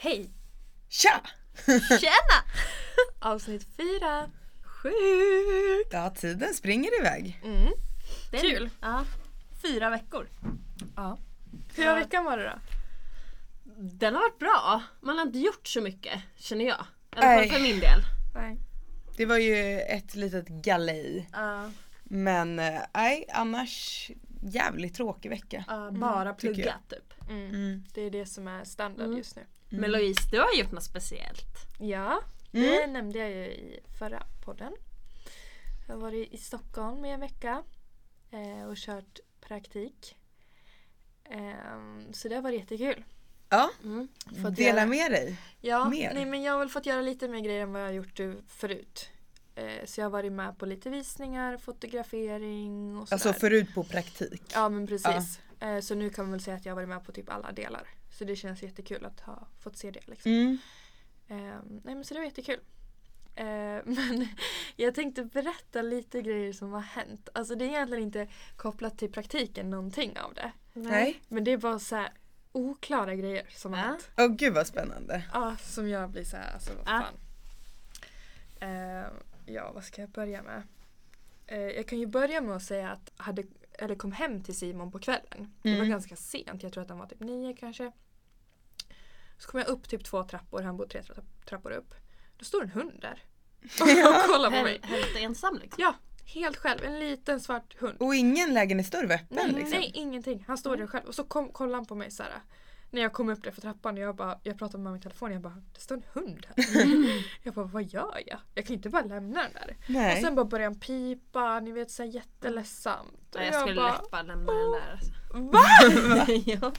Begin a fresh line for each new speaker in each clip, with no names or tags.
Hej!
Tja!
Tjena! Avsnitt fyra. Sjukt!
Ja, tiden springer iväg.
Mm. Det är-
Kul.
Ja. Fyra veckor.
Ja.
Hur har veckan varit då?
Den har varit bra. Man har inte gjort så mycket känner jag. I alla fall
Nej.
för min del.
Nej.
Det var ju ett litet galej.
Ja.
Men eh, nej, annars jävligt tråkig vecka.
Ja, bara
tycker
plugga typ.
Mm.
Mm.
Det är det som är standard
Mm.
just nu.
Men Louise, du har gjort något speciellt.
Ja,
Mm.
det nämnde jag ju i förra podden. Jag har varit i Stockholm i en vecka eh, och kört praktik. Ehm, så det har varit jättekul.
Ja,
Mm.
Fått
dela
göra-
med dig.
Ja,
mer.
Nej, men jag har väl fått göra lite mer grejer än vad jag har gjort eh, förut. Eh, så jag har varit med på lite visningar, fotografering och sådär.
Alltså förut på praktik.
Ja men precis. Eh, Så nu kan man väl säga att jag har varit med på typ alla delar. Så det känns jättekul att ha fått se det. Liksom.
Mm.
Eh, nej men så det var jättekul. Eh, men jag tänkte berätta lite grejer som har hänt. Alltså det är egentligen inte kopplat till praktiken någonting av det.
Nej.
Men det är bara så här oklara grejer som har
Ja.
hänt.
Åh gud vad spännande.
Ja, som jag blir så här, alltså vad
Ja.
fan. Eh, ja, vad ska jag börja med? Eh, jag kan ju börja med att säga att jag hade, eller kom hem till Simon på kvällen. Det var
Mm.
ganska sent, jag tror att han var typ nio kanske. Så kom jag upp typ två trappor, han bor tre tra- trappor upp. Då står en hund där. Och kollar på mig.
Helt, helt ensam liksom.
Ja, helt själv. En liten svart hund.
Och ingen lägenhetsdörr var öppen
Nej,
liksom.
nej ingenting. Han står där själv och så kom, kollar han på mig så här. När jag kom upp där för trappan och jag bara, jag pratade med min telefon jag bara det står en hund här. jag bara vad gör jag? Jag kan inte bara lämna den där.
Nej.
Och
Alltså,
sen bara började han pipa, ni vet såhär jätteledsamt. Och
Nej, jag skulle lätt bara lämna den där. alltså.
va?
ja.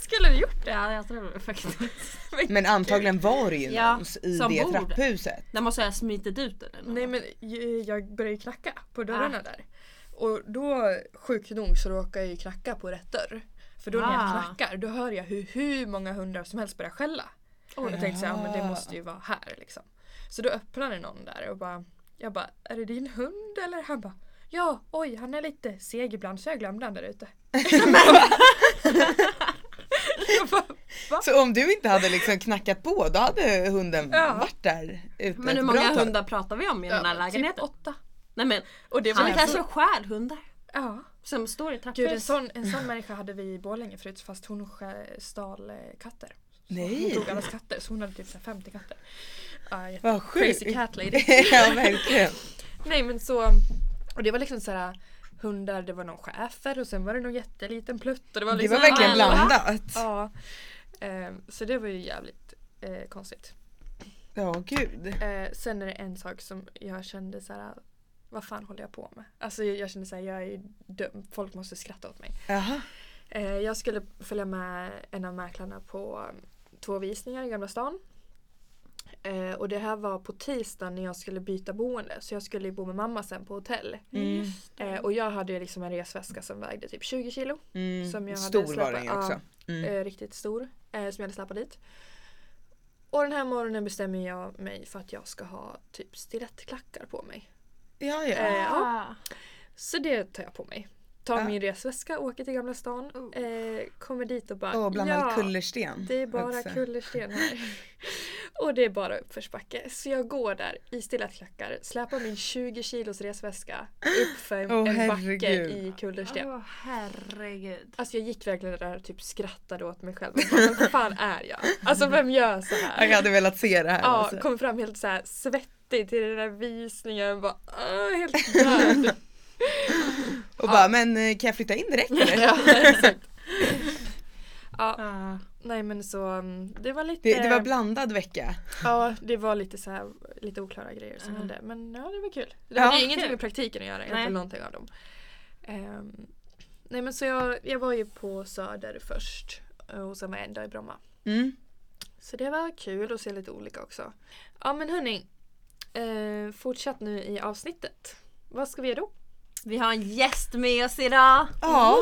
Skulle du gjort det?
ja, jag tror det faktiskt.
Men antagligen var det ju
Ja,
någons i
som
det
bor.
trapphuset.
Den måste ha smitit ut den. eller
Nej
något.
men ju- jag började ju knacka på
Ah.
dörrarna där. Och då sjukt nog så råkade jag ju knacka på rätt dörr. För då när jag
Ah.
knackar då hör jag hur, hur många hundar som helst börjar skälla. Och jag tänkte så här, ja, men det måste ju vara här liksom. Så då öppnade någon där och bara Jag bara, är det din hund eller? Han bara Ja, oj han är lite seg ibland så jag glömde han där ute. jag bara, Va?
Så om du inte hade liksom knackat på då hade hunden
Ja.
varit där ute
Men hur
ett
många
bra tag.
hundar pratar vi om i den här
Ja, typ
lägenheten?
åtta.
Nej men
Och det var
han
jag-
kanske skär hundar
Ja.
som står i
Gud, en
trapphuset.
sån, en sån människa hade vi i Borlänge förut fast hon skä- stal eh, katter. Hon
Nej,
tog allas katter så hon hade typ så här 50 katter. Ja, jätte-
vad sjukt.
crazy cat lady.
ja verkligen.
Nej men så, och det var liksom så här hundar, det var någon schäfer och sen var det någon jätteliten plutt. Och det, var
Det
liksom
var verkligen
alla.
blandat.
Ja. Ehm, så det var ju jävligt eh, konstigt.
Ja gud.
Eh, sen är det en sak som jag kände så här. Vad fan håller jag på med? Alltså jag jag kände såhär, jag är ju dum. Folk måste skratta åt mig.
Jaha.
Eh, jag skulle följa med en av mäklarna på um, två visningar i Gamla stan. Eh, och det här var på tisdagen när jag skulle byta boende. Så jag skulle ju bo med mamma sen på hotell.
Mm.
Eh, och jag hade ju liksom en resväska som vägde typ 20 kilo.
Mm.
Som jag hade
Stor var
släpat-
den ju också. Mm.
Eh, riktigt stor. Eh, som jag hade släpat dit. Och den här morgonen bestämmer jag mig för att jag ska ha typ stilettklackar på mig.
Ja,
eh,
ja.
ja. Så det tar jag på mig. Tar
Ja.
min resväska, åker till Gamla stan.
Oh.
Eh, kommer dit och bara
Och blandade
ja,
kullersten.
Det är bara
också.
kullersten här. och det är bara uppförsbacke. Så jag går där i stilettklackar, släpar min 20 kilos resväska uppför
Åh,
en backe
herregud.
i kullersten.
Åh herregud.
Alltså jag gick verkligen där och typ skrattade åt mig själv. Jag Bara, vem fan är jag? Alltså vem gör så
Jag
här?
hade velat se det här.
Ja,
alltså.
kom fram helt så här svettig till den där visningen. Bara, "Åh, helt död.
Och bara, men eh, kan jag flytta in direkt eller?
ja, exakt. Ja,
Ah.
nej men så mm, det var lite...
Det, det var blandad vecka.
Ja, det var lite så här, lite oklara grejer som
Ja.
hände. Men ja, det var kul. Det
Ja,
hade ju ingenting
kul.
med praktiken att göra,
Nej.
egentligen någonting av dem. Ehm, nej men så jag, jag var ju på Söder först eh, och sen var jag en dag i Bromma.
Mm.
Så det var kul att se lite olika också. Ja men hörni, eh, fortsätt nu i avsnittet. Vad ska vi göra då?
Vi har en gäst med oss idag.
Ja,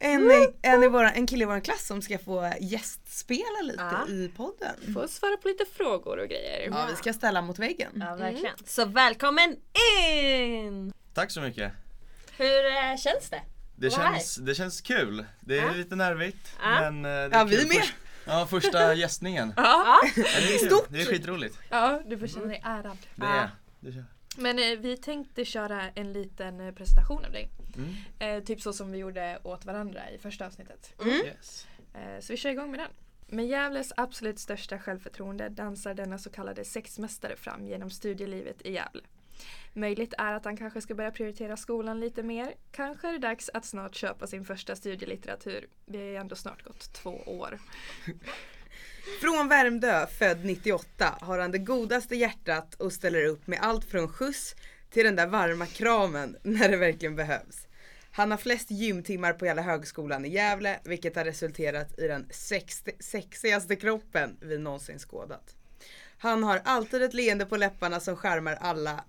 Mm.
en, en, i våra, en kille i vår klass som ska få gästspela lite
Ja.
i podden.
Få svara på lite frågor och grejer.
Ja, vi ska ställa mot väggen.
Ja verkligen. Så välkommen in!
Tack så mycket.
Hur eh, känns det?
Det
Vad
känns, det känns kul. Det är
Ja.
lite nervigt.
Ja.
Men eh, det är
Ja, vi
kul
med.
först- Ja, första gästningen.
Ja,
Ja, det, är kul.
Stort.
det är skitroligt.
ja du får känna dig ärad.
Det är det. kör.
Men eh, vi tänkte köra en liten eh, presentation av dig.
Mm.
Eh, typ så som vi gjorde åt varandra i första avsnittet.
Mm.
Yes.
Eh, så vi kör igång med den. Med Gävles absolut största självförtroende dansar denna så kallade sexmästare fram genom studielivet i Gävle. Möjligt är att han kanske ska börja prioritera skolan lite mer. Kanske är det dags att snart köpa sin första studielitteratur. Det har ju ändå snart gått två år.
Från Värmdö, född 98, har han det godaste hjärtat och ställer upp med allt från skjuts till den där varma kramen när det verkligen behövs. Han har flest gymtimmar på hela högskolan i Gävle, vilket har resulterat i den sexti- sexigaste kroppen vi någonsin skådat. Han har alltid ett leende på läpparna som skärmar alla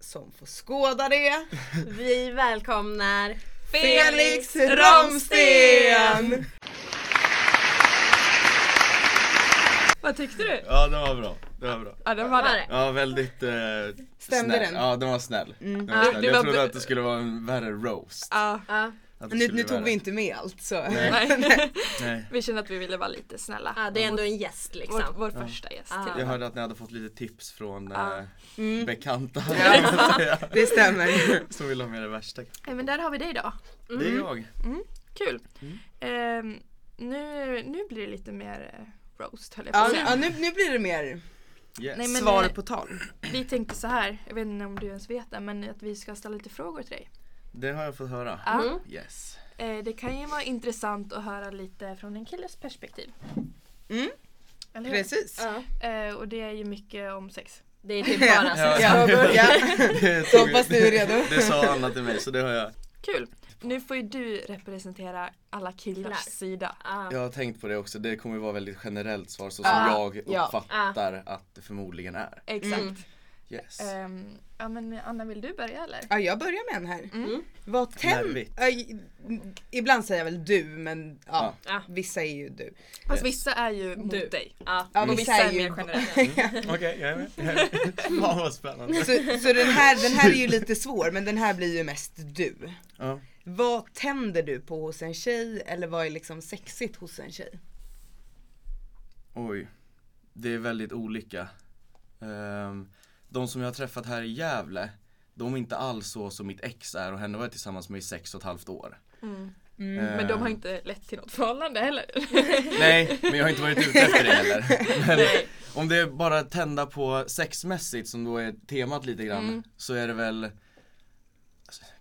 som får skåda det.
Vi välkomnar
Felix Romsten!
Vad tyckte du?
Ja, den var bra. Den var bra.
Ja, den
Var
var det.
det?
Ja, väldigt eh,
Stämde
snäll.
den? Mm.
Ja, den var snäll. Den
Ja,
var snäll.
det
Jag
var
trodde
bu-
att det skulle vara en värre roast.
Ja,
Ja,
Att det
Nu,
skulle
nu
bli
tog
värre.
vi inte med allt så.
nej.
Nej.
Vi kände att vi ville vara lite snälla.
ja, det är ändå en gäst liksom.
Vår, vår första gäst.
Ja.
till
Jag
och med.
hörde att ni hade fått lite tips från
Ja.
eh,
Mm.
bekanta
Det stämmer.
som ville ha med det värsta.
Nej, Men där har vi dig då.
Det
Mm.
är jag.
Kul. Ehm, nu, nu blir det lite mer eh, roast höll jag på
Ja,
att
ja
säga.
nu, nu blir det mer
Yes.
Nej, men-
svar på tal.
Vi tänkte så här, jag vet inte om du ens vet det, men att vi ska ställa lite frågor till dig.
Det har jag fått höra.
Ja.
Mm.
Yes.
Eh, det kan ju vara intressant att höra lite från en killes perspektiv.
Mm.
Eller hur?
Precis.
Ja.
Eh, och det är ju mycket om sex.
Det är typ bara så.
Ska Alltså, jag börja?
Det
Så
tog-
hoppas du är redo.
Det sa Anna till mig så det har jag.
Kul! Nu får ju du representera alla killars
Killar.
sida.
Ja.
Jag har tänkt på det också. Det kommer ju vara väldigt generellt svar så som
Ah,
jag
ja.
uppfattar att det förmodligen är.
Exakt.
Mm.
Yes.
Eh.
Ehm, ja men Anna, vill du börja eller?
Ja, jag börjar med en här.
Mm.
Vad tem...
Nervigt.
Aj, Ibland säger jag väl du, men ja,
Ja.
vissa är ju du.
Fast vissa är ju mot
Du.
dig.
Ja.
Ja,
Och vissa är mer generella.
Okej, jag är med. Fan vad spännande.
så så den, här, den här är ju lite svår, men den här blir ju mest du.
Ja.
Vad tänder du på hos en tjej eller vad är liksom sexigt hos en tjej?
Oj, det är väldigt olika. Ehm, de som jag har träffat här i Gävle, de är inte alls så som mitt ex är och henne var jag tillsammans med i sex och ett halvt år. Ehm,
Men de har inte lett till något förhållande heller.
Nej, men jag har inte varit ute efter det heller. Men
Nej.
om det är bara att tända på sexmässigt som då är temat lite grann
Mm.
så är det väl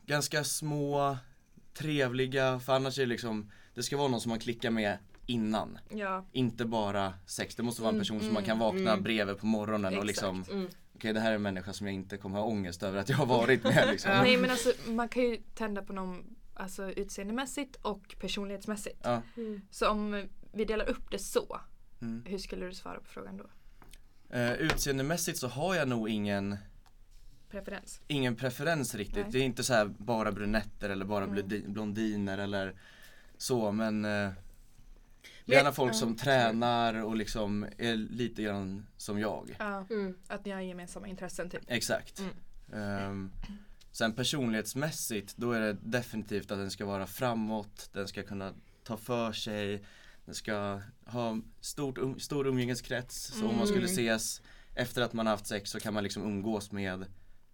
ganska små, trevliga, för annars är det liksom, det ska vara någon som man klickar med innan.
Ja.
Inte bara sex, det måste vara en person som man kan vakna bredvid på morgonen och liksom
Mm.
Okej det här är en människa som jag inte kommer ha ångest över att jag har varit med liksom.
Ja.
ja.
Nej men alltså man kan ju tända på någon alltså, utseendemässigt och personlighetsmässigt.
Ja.
Så om vi delar upp det så,
Mm.
hur skulle du svara på frågan då?
Eh, utseendemässigt så har jag nog ingen,
Preferens?
ingen preferens riktigt.
Nej.
Det är inte så här bara brunetter eller bara bludi- blondiner eller så men eh, Gärna folk som tränar och liksom är lite grann som jag.
Ja,
Mm.
att ni har gemensamma intressen typ.
Exakt.
Mm.
Ehm, sen personlighetsmässigt då är det definitivt att den ska vara framåt, den ska kunna ta för sig, den ska ha stort, um, stor umgängeskrets. Så om man skulle ses efter att man har haft sex så kan man liksom umgås med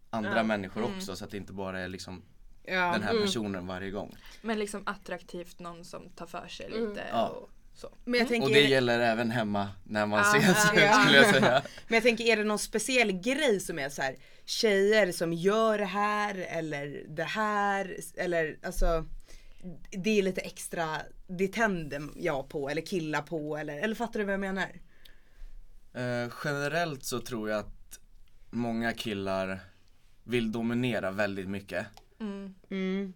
andra
Ja.
människor också så att det inte bara är liksom
Ja.
den här personen varje gång.
Men liksom attraktivt, någon som tar för sig lite
Ja.
och så.
Men jag tänker,
Och det gäller även hemma när man
Ja,
ses
ja.
skulle jag säga.
men jag tänker är det någon speciell grej som är så här tjejer som gör det här eller det här eller alltså det är lite extra, det tänder jag på eller killar på eller, eller fattar du vad jag menar?
Eh, generellt så tror jag att många killar vill dominera väldigt mycket.
Mm.
Mm.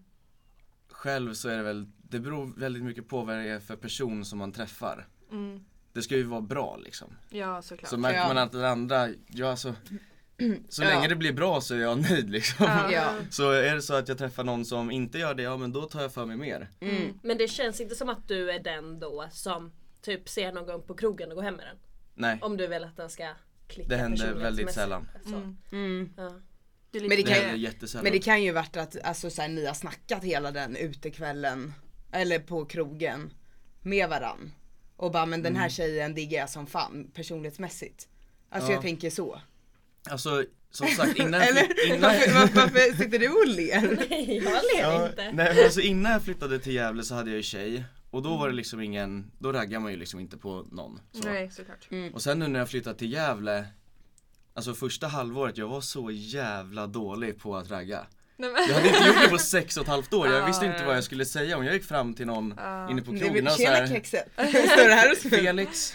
Själv så är det väl, det beror väldigt mycket på vad det är för person som man träffar.
Mm.
Det ska ju vara bra liksom.
Ja såklart.
Så märker
Ja.
man att den andra, ja alltså, så
Ja.
länge det blir bra så är jag nöjd liksom.
Ja.
Ja.
Så är det så att jag träffar någon som inte gör det, ja men då tar jag för mig mer.
Mm.
Men det känns inte som att du är den då som typ ser någon på krogen och går hem med den.
Nej,
Om du vill att den ska klicka
det händer väldigt
personlighetsmässigt.
sällan.
Så.
Mm.
Mm.
Ja.
Det är lite
Men det
Det
kan-
händer jättesällan.
Men det kan ju varit att alltså, så här, ni har snackat hela den utekvällen eller på krogen med varann. och bara men den
Mm.
här tjejen diggar jag som fan personlighetsmässigt. Alltså
Ja.
jag tänker så.
Alltså som sagt innan jag, flytt-
Eller
innan,
varför, var- varför sitter du och ler?
Nej, jag ler
ja,
inte.
nej, men alltså, innan jag flyttade till Gävle så hade jag ju tjej och då
Mm.
var det liksom ingen, då raggade man ju liksom inte på någon. Så.
Nej såklart.
Och sen nu när jag flyttade till Gävle Alltså första halvåret, jag var så jävla dålig på att ragga
Nej, men,
Jag hade inte gjort det på sex och ett halvt år, jag
Ah,
visste inte
ja.
vad jag skulle säga om jag gick fram till någon
Ah.
inne på
Du vill,
krogen och så
tjena
här,
kexet. Står det här och spelar?
Felix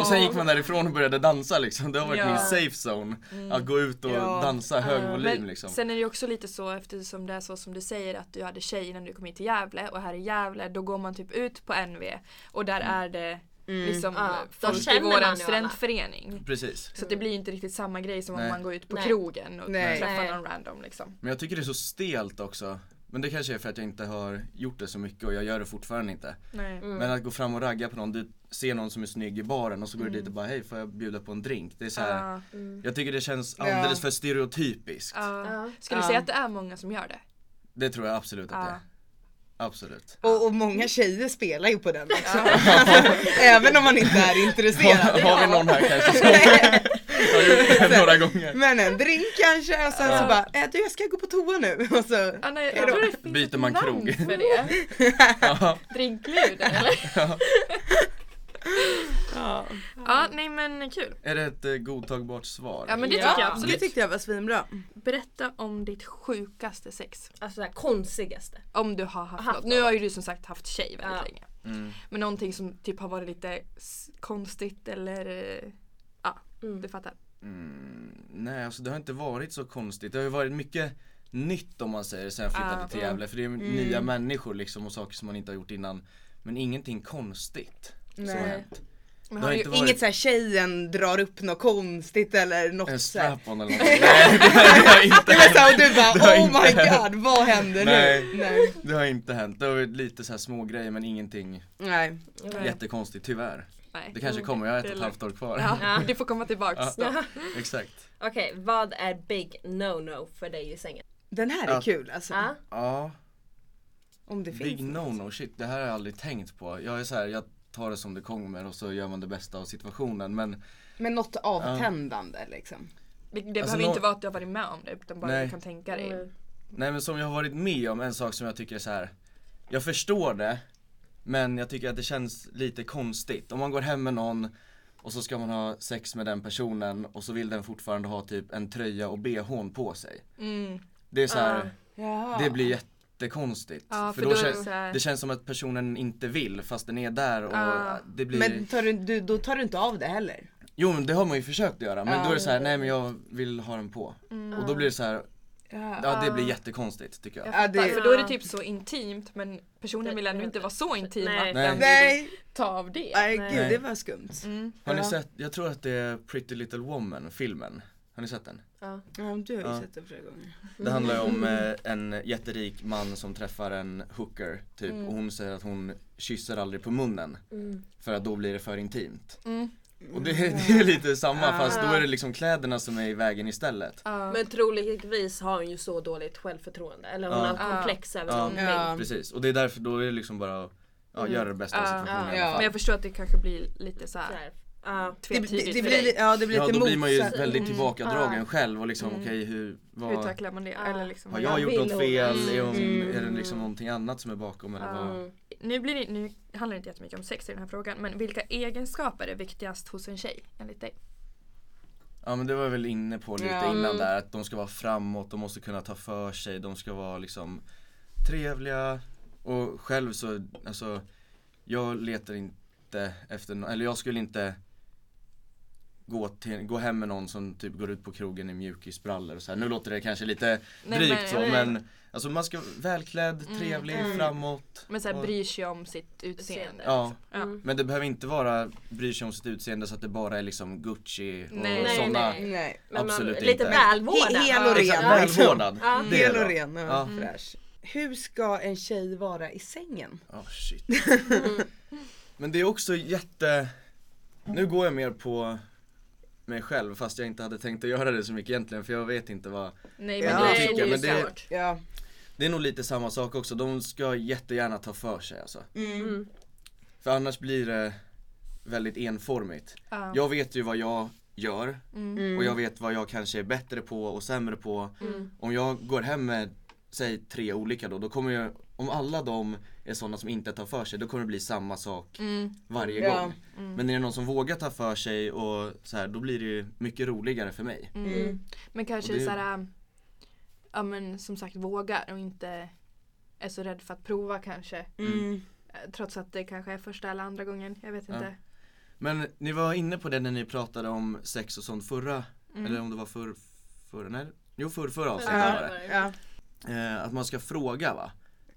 Och sen gick man därifrån och började dansa liksom, det har varit
Ja. Mm.
min safe zone Att gå ut och
Ja.
dansa hög
Ja,
volym
Eh, men
liksom
Sen är det ju också lite så eftersom det är så som du säger att du hade tjej innan du kom hit till Gävle och här i Gävle då går man typ ut på NV och där är det liksom
Mm. Ja, då
folk i
känner man ju alla.
våran
Mm.
studentförening.
Precis
Så det blir ju inte riktigt samma grej som om
Nej.
man går ut på
Nej.
krogen och
Nej.
träffar
Nej.
någon random liksom.
Men jag tycker det är så stelt också Men det kanske är för att jag inte har gjort det så mycket och jag gör det fortfarande inte
Nej.
Men att gå fram och ragga på någon, du ser någon som är snygg i baren och så går du dit och bara hej får jag bjuda på en drink? Det är så här,
Ah,
Jag tycker det känns alldeles för stereotypiskt.
ah.
Ja.
Skulle du
Ja.
säga att det är många som gör det?
Det tror jag absolut att det
Ja.
är. Absolut.
Och, och många tjejer spelar ju på den också. Alltså, Även om man inte är intresserad.
Har vi någon här kanske som har gjort det några gånger?
Men en drink kanske och sen så
Ja.
bara, äh, du jag ska gå på toa nu. Och så,
Ah, nej,
Ja.
jag tror det finns
Byter
ett
man
namn
krog?
för det.
Ja.
Drinkljud eller? Ja, nej men kul.
Är det ett eh, godtagbart svar?
Ja men det
Ja.
tycker jag
det
absolut.
tyckte jag var svinbra.
Berätta om ditt sjukaste sex.
Alltså det här konstigaste.
Om du har haft,
Haft
något. Nu har ju du som sagt haft tjej väldigt
Ja.
länge.
Mm.
Men någonting som typ har varit lite s- konstigt eller eh, ja, du fattar.
Nej alltså det har inte varit så konstigt. Det har ju varit mycket nytt om man säger sen jag flyttade
Ah,
till Gävle för det är ju nya människor liksom och saker som man inte har gjort innan. Men ingenting konstigt som har
Nej.
hänt.
Men
Det
har
har
du,
inte
inte...
varit
Inget såhär tjejen drar upp något konstigt eller
en
något såhär.
strap-on eller något. Nej det har inte
Det var såhär och du
Det har
bara oh
inte
my
hänt.
god vad händer
Nej.
nu? Nej.
Det har inte hänt. Det har varit lite så här små grejer men ingenting
Nej. Oh,
jättekonstigt tyvärr.
Nej.
Det kanske kommer, jag har ett
Det
och
är
ett halvt år kvar.
Ja, Du får komma tillbaks då.
Exakt.
Okej, vad är big no-no för dig i sängen?
Den här är
Ja.
kul alltså.
Ja.
Ja,
Om det finns.
big no-no shit. Det här har jag aldrig tänkt på. Jag är så här, jag tar det som det kommer och så gör man det bästa av situationen. Men
Men något avtändande liksom.
Det, det
Alltså,
behöver
nå-
inte vara att du har varit med om det utan bara
Nej.
du kan tänka dig.
Mm.
nej men som jag har varit med om, en sak som jag tycker är så här. Jag förstår det, men jag tycker att det känns lite konstigt. Om man går hem med någon och så ska man ha sex med den personen och så vill den fortfarande ha typ en tröja och bhn på sig.
Mm.
Det är så här.
Ja.
Det blir jättekonstigt.
Ja,
för
för
då
då är det
kän-
så här-
det känns som att personen inte vill fast den är där och
Ja.
det blir
Men tar du, du, då tar du inte av det heller.
Jo men det har man ju försökt göra men
Ja.
då är det så här, nej men jag vill ha den på.
Mm.
Och då blir det så här,
Ja.
ja det blir jättekonstigt tycker jag.
Ja, det-
För då är det typ så intimt men personen vill ändå inte vara så intim
Nej.
att
Nej.
den vill
Nej,
ta av det.
nej gud
Nej.
det var skumt.
Mm.
Har ni
Ja.
sett, jag tror att det är Pretty Little Woman filmen. Har ni sett den?
Mm.
Ja, du har ju
Ja.
sett det flera gånger.
Det handlar ju om eh, en jätterik man som träffar en hooker typ
Mm.
och hon säger att hon kysser aldrig på munnen.
Mm.
För att då blir det för intimt.
Mm.
Och det, det är lite samma fast då är det liksom kläderna som är i vägen istället.
Ja.
Men troligtvis har hon ju så dåligt självförtroende. Eller hon
Ja.
har komplex över
Ja.
någonting.
Ja.
Precis, och det är därför då är det liksom bara att ja,
Mm.
göra det bästa av
Ja.
situationen i
Ja.
alla
Men
fall.
jag förstår att det kanske blir lite så
Så
här
här. Ja.
Det, det,
tvetydigt
det
för
blir,
dig.
ja, det blir
Ja
lite
då blir man ju
motsatt. Mm. Ah.
väldigt tillbakadragen
Ja.
själv och liksom okej hur, vad,
Hur tacklar man det?
Ja.
Eller liksom,
har
ja.
jag gjort
vill
något
hon?
fel? Är, hon,
Mm. Ah.
är det liksom någonting annat som är bakom eller vad?
Mm.
nu, blir det, nu handlar det inte jättemycket om sex i den här frågan men vilka egenskaper är viktigast hos en tjej enligt dig?
Ja men det var jag väl inne på lite
Ja.
innan där att de ska vara framåt, de måste kunna ta för sig, de ska vara liksom trevliga och själv så, alltså jag letar inte efter någon, eller jag skulle inte gå, till, gå hem med någon som typ går ut på krogen i mjukisbrallor och så här. nu låter det kanske lite
Nej,
drygt
men- Mm,
så
nej.
men alltså man ska vara välklädd, trevlig, framåt
Men såhär
och-
bryr sig om sitt utseende. Mm.
Ja,
Ja.
Mm.
men det behöver inte vara bryr sig om sitt utseende så att det bara är liksom Gucci och
Nej.
Nej,
sådana
nej.
Nej.
Men man,
Absolut
lite
inte.
välvårdad.
He- hel
Ja. Mm.
och ren.
Exakt,
Ja.
välvårdad.
Ja.
Det är
Hel
det.
och ren och
Ja.
fräsch. Hur ska en tjej vara i sängen?
Ja, Oh, shit. Men det är också jätte... Nu går jag mer på mig själv fast jag inte hade tänkt att göra det så mycket egentligen för jag vet inte vad
Nej
Ja.
men
jag
Nej,
tycker.
det är ju
men det,
klart.
Ja.
det är nog lite samma sak också. De ska jättegärna ta för sig alltså.
Mm.
För annars blir det väldigt enformigt.
Ja.
Jag vet ju vad jag gör
Mm.
Mm.
och jag vet vad jag kanske är bättre på och sämre på. Om jag går hem med, säg tre olika då, då kommer jag, om alla de är sådana som inte tar för sig, då kommer det bli samma sak
Mm.
varje
Ja.
gång. Men när det är någon som vågar ta för sig och så här, då blir det ju mycket roligare för mig.
Mm. Men kanske
Och det-
såhär, ja men som sagt vågar och inte är så rädd för att prova kanske.
Mm.
Eh, Trots att det kanske är första eller andra gången, jag vet
Ja.
inte.
Men ni var inne på det när ni pratade om sex och sånt förra,
Mm.
eller om det var förr, förra, nej, jo förr, förra avsnittet var det.
Ja.
Ja.
Eh, att man ska fråga va?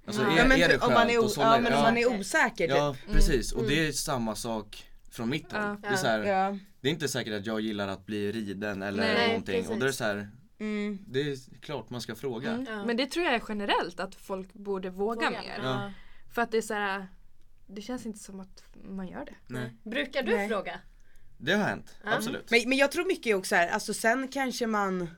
Alltså
Ja.
är,
Ja, men
är det
typ
skönt?
om man är,
och
o-
sådana-
ja, men om man är
ja.
osäker typ.
Ja precis och det är samma sak från mitt håll.
Ja.
Det, är så här,
Ja.
det är inte säkert att jag gillar att bli riden eller
Nej,
någonting och då är det
precis.
så här,
Mm.
det är klart man ska fråga.
Mm.
Ja.
Men det tror jag är generellt att folk borde våga, mer.
Ja.
För att det är såhär, det känns inte som att man gör det.
Nej.
Brukar du
Nej.
fråga?
Det har hänt, absolut.
Men, men jag tror mycket är också så här, alltså sen kanske man